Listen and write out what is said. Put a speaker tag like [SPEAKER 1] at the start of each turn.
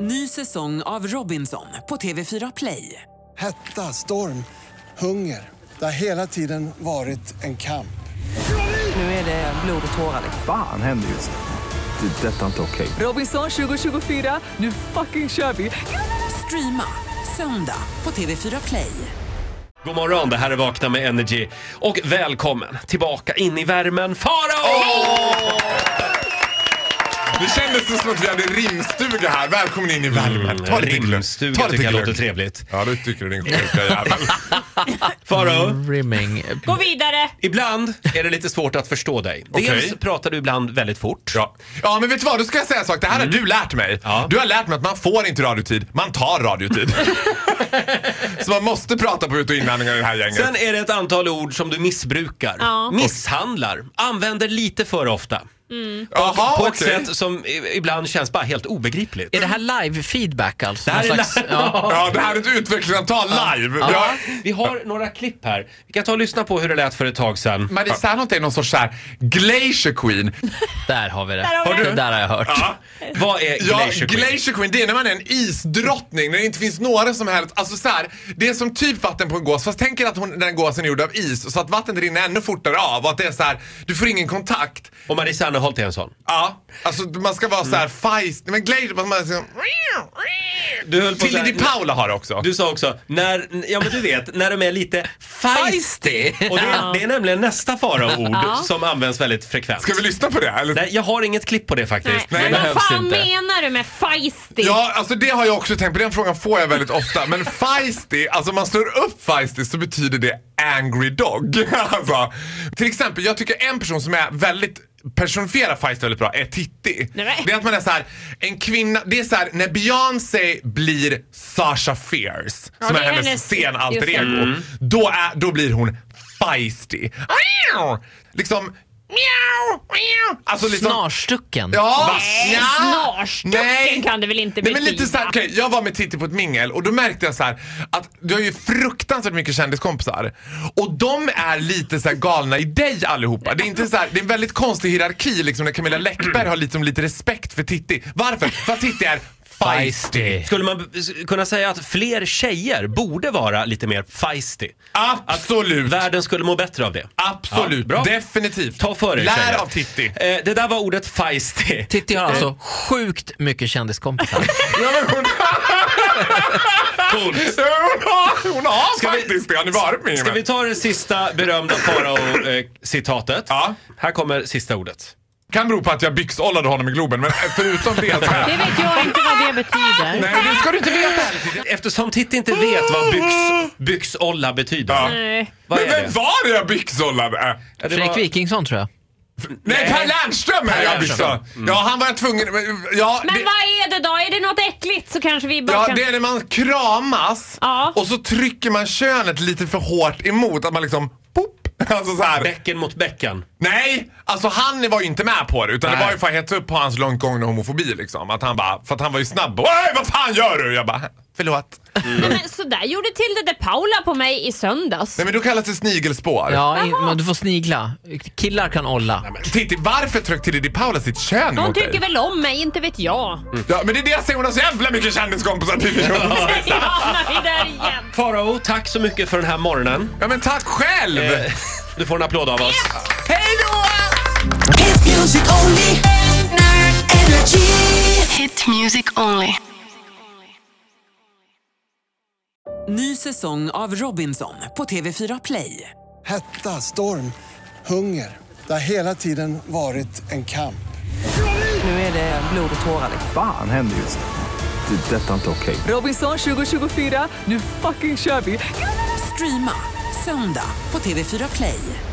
[SPEAKER 1] Ny säsong av Robinson på TV4 Play.
[SPEAKER 2] Hetta, storm, hunger. Det har hela tiden varit en kamp.
[SPEAKER 1] Nu är det blod och tårar. liksom.
[SPEAKER 3] Fan händer just nu. Det. är Detta är inte okej.
[SPEAKER 1] Robinson 2024, nu fucking kör vi! Streama söndag på TV4 Play.
[SPEAKER 4] God morgon, det här är Vakna med Energy. Och välkommen tillbaka in i värmen, Farao!
[SPEAKER 5] Det kändes så som att vi hade rimstuga här. Välkommen in i värmen. Ta lite glögg. Ta
[SPEAKER 4] Mm, Rimstuga
[SPEAKER 5] lite
[SPEAKER 4] tycker jag
[SPEAKER 5] glögg.
[SPEAKER 4] låter trevligt.
[SPEAKER 5] Ja, det tycker du din sjuka jävel.
[SPEAKER 4] Farao,
[SPEAKER 5] Mm.
[SPEAKER 6] Rimming.
[SPEAKER 7] Gå vidare!
[SPEAKER 4] ibland är det lite svårt att förstå dig.
[SPEAKER 5] Okej.
[SPEAKER 4] Dels pratar du ibland väldigt fort.
[SPEAKER 5] Ja. ja, men vet du vad? Då ska jag säga en sak. Det här har du lärt mig.
[SPEAKER 4] Mm. Ja.
[SPEAKER 5] Du har lärt mig att man får inte radiotid, man tar radiotid. så man måste prata på ut och invändningar i det här gänget.
[SPEAKER 4] Sen är det ett antal ord som du missbrukar,
[SPEAKER 7] Ja.
[SPEAKER 4] misshandlar, använder lite för ofta.
[SPEAKER 5] Jaha,
[SPEAKER 4] På ett
[SPEAKER 5] okej.
[SPEAKER 4] sätt som i- ibland känns bara helt obegripligt.
[SPEAKER 6] Är det här live-feedback alltså?
[SPEAKER 4] Det här
[SPEAKER 6] Någon
[SPEAKER 4] är
[SPEAKER 6] slags-
[SPEAKER 4] live.
[SPEAKER 6] ja.
[SPEAKER 5] Ja, det här är ett utvecklingssamtal live. Ja.
[SPEAKER 4] Ja, vi har några klipp här. Vi kan ta och lyssna på hur det lät för ett tag sedan.
[SPEAKER 5] Marie Serneholt är någon sorts så här glacier queen.
[SPEAKER 6] Där har vi det.
[SPEAKER 7] Där har vi Har det. du?
[SPEAKER 6] Det där har jag hört.
[SPEAKER 4] Vad är
[SPEAKER 5] Ja,
[SPEAKER 4] Glacier Queen?
[SPEAKER 5] Eh, Glacier Queen, det är när man är en isdrottning, när det inte finns några som helst, alltså så här, det är som typ vatten på en gås, fast tänk er att hon, den gåsen är gjord av is, så att vattnet rinner ännu fortare av och att det är så här, du får ingen kontakt.
[SPEAKER 4] Och Marie Serneholt är en sån.
[SPEAKER 5] Ja, alltså man ska vara så här feist, men Glacier, man man ska,
[SPEAKER 4] Du höll på så
[SPEAKER 5] Tilly
[SPEAKER 4] här-
[SPEAKER 5] Di Paula har det också.
[SPEAKER 4] Du sa också, när, ja men du vet, när de är lite feisty. Och det, är- det är nämligen nästa faraoord som används väldigt frekvent.
[SPEAKER 5] Ska vi lyssna på det? Eller?
[SPEAKER 4] Nej, jag har inget klipp på det
[SPEAKER 7] Nej.
[SPEAKER 4] faktiskt.
[SPEAKER 5] Nej,
[SPEAKER 7] Men vad
[SPEAKER 6] behövs
[SPEAKER 7] fan
[SPEAKER 6] inte.
[SPEAKER 7] menar du med feisty?
[SPEAKER 5] Ja, alltså det har jag också tänkt på. Den frågan får jag väldigt ofta. Men feisty, alltså om man slår upp feisty så betyder det angry dog. Alltså, till exempel, jag tycker en person som är väldigt personifierar feisty väldigt bra är Titti.
[SPEAKER 7] Nej.
[SPEAKER 5] Det är att man är så här, en kvinna, det är så här när Beyoncé blir Sasha Fierce, som
[SPEAKER 7] det
[SPEAKER 5] är
[SPEAKER 7] är
[SPEAKER 5] hennes,
[SPEAKER 7] hennes-
[SPEAKER 5] scenalter
[SPEAKER 7] just det. Mm.
[SPEAKER 5] ego, då, är, då blir hon feisty. Meow! Liksom, meow, meow. Alltså liksom,
[SPEAKER 6] Snarstucken.
[SPEAKER 5] Ja,
[SPEAKER 7] Nej,
[SPEAKER 5] nja.
[SPEAKER 7] snarstucken
[SPEAKER 5] Nej.
[SPEAKER 7] kan det väl inte
[SPEAKER 5] Nej, men lite
[SPEAKER 7] betyda.
[SPEAKER 5] så här, okej, Jag var med Titti på ett mingel och då märkte jag så här att du har ju fruktansvärt mycket kändiskompisar. Och de är lite så här galna i dig allihopa. Det är, inte så här, det är en väldigt konstig hierarki liksom, när Camilla Läckberg har liksom lite respekt för Titti. Varför? För att Titti är feisty.
[SPEAKER 4] Skulle man b- s- kunna säga att fler tjejer borde vara lite mer feisty?
[SPEAKER 5] Absolut.
[SPEAKER 4] Världen skulle må bättre av det.
[SPEAKER 5] Absolut.
[SPEAKER 4] Ja, bra.
[SPEAKER 5] Definitivt.
[SPEAKER 4] Ta för er
[SPEAKER 5] Lär
[SPEAKER 4] tjejer.
[SPEAKER 5] av Titti.
[SPEAKER 4] Eh, det där var ordet feisty.
[SPEAKER 6] Titti har alltså sjukt mycket kändiskompisar.
[SPEAKER 5] Ja, men hon,
[SPEAKER 4] Coolt.
[SPEAKER 5] hon har, hon har
[SPEAKER 4] Ska vi-
[SPEAKER 5] faktiskt det. Har ni varit med
[SPEAKER 4] Ska vi ta det sista berömda farao-citatet?
[SPEAKER 5] Ja.
[SPEAKER 4] Här kommer sista ordet.
[SPEAKER 5] Kan bero på att jag byxollade honom i Globen, men förutom det så här.
[SPEAKER 7] Det vet jag inte vad det betyder.
[SPEAKER 5] Nej, det ska du inte veta heller.
[SPEAKER 4] Eftersom Titti inte vet vad byx, byxolla betyder.
[SPEAKER 5] Ja.
[SPEAKER 7] Nej.
[SPEAKER 4] Vad
[SPEAKER 5] Men
[SPEAKER 4] är det?
[SPEAKER 5] vem var det jag byxollade?
[SPEAKER 4] Ja, det
[SPEAKER 6] Fredrik
[SPEAKER 4] var-
[SPEAKER 6] Wikingsson tror jag.
[SPEAKER 5] Nej, Per Lernström Mm. är jag byxollade. Ja, han var jag tvungen... Ja,
[SPEAKER 7] Men
[SPEAKER 5] det,
[SPEAKER 7] vad är det då? Är det något äckligt så kanske vi bara
[SPEAKER 5] ja,
[SPEAKER 7] kan...
[SPEAKER 5] det är när man kramas
[SPEAKER 7] Ja.
[SPEAKER 5] och så trycker man könet lite för hårt emot. Att man liksom... Pop. Alltså så här.
[SPEAKER 4] Bäcken mot bäcken.
[SPEAKER 5] Nej, alltså han var ju inte med på det. Utan
[SPEAKER 4] Nej.
[SPEAKER 5] det var ju för att hetsa upp på hans långt gångna homofobi liksom. Att han bara, för att han var ju snabb. Oj, vad fan gör du? Jag bara, förlåt.
[SPEAKER 7] Nej, men sådär gjorde Tilde de Paula på mig i söndags.
[SPEAKER 5] Nej men då kallas det snigelspår.
[SPEAKER 6] Ja, in, men du får snigla. Killar kan olla.
[SPEAKER 5] Titti, varför tryckte Tilly Di Paula sitt kön
[SPEAKER 7] Hon
[SPEAKER 5] mot dig?
[SPEAKER 7] tycker väl om mig, inte vet jag.
[SPEAKER 5] Ja, men det är det jag säger, hon har så jävla mycket kändiskompisar Titti Jonsson.
[SPEAKER 7] Ja, hamnar vi där igen.
[SPEAKER 4] Farao, tack så mycket för den här morgonen.
[SPEAKER 5] Ja men tack själv!
[SPEAKER 4] Eh, Du får en applåd av oss.
[SPEAKER 5] Hej då!
[SPEAKER 8] Hit music only. Energy.
[SPEAKER 9] Hit music only.
[SPEAKER 1] Ny säsong av Robinson på TV4 Play.
[SPEAKER 2] Hetta, storm, hunger. Det har hela tiden varit en kamp.
[SPEAKER 1] Nu är det blod och tårar. liksom.
[SPEAKER 3] Fan händer just nu. Det. är Detta är inte okej.
[SPEAKER 1] Robinson 2024, nu fucking kör vi! Streama söndag på TV4 Play.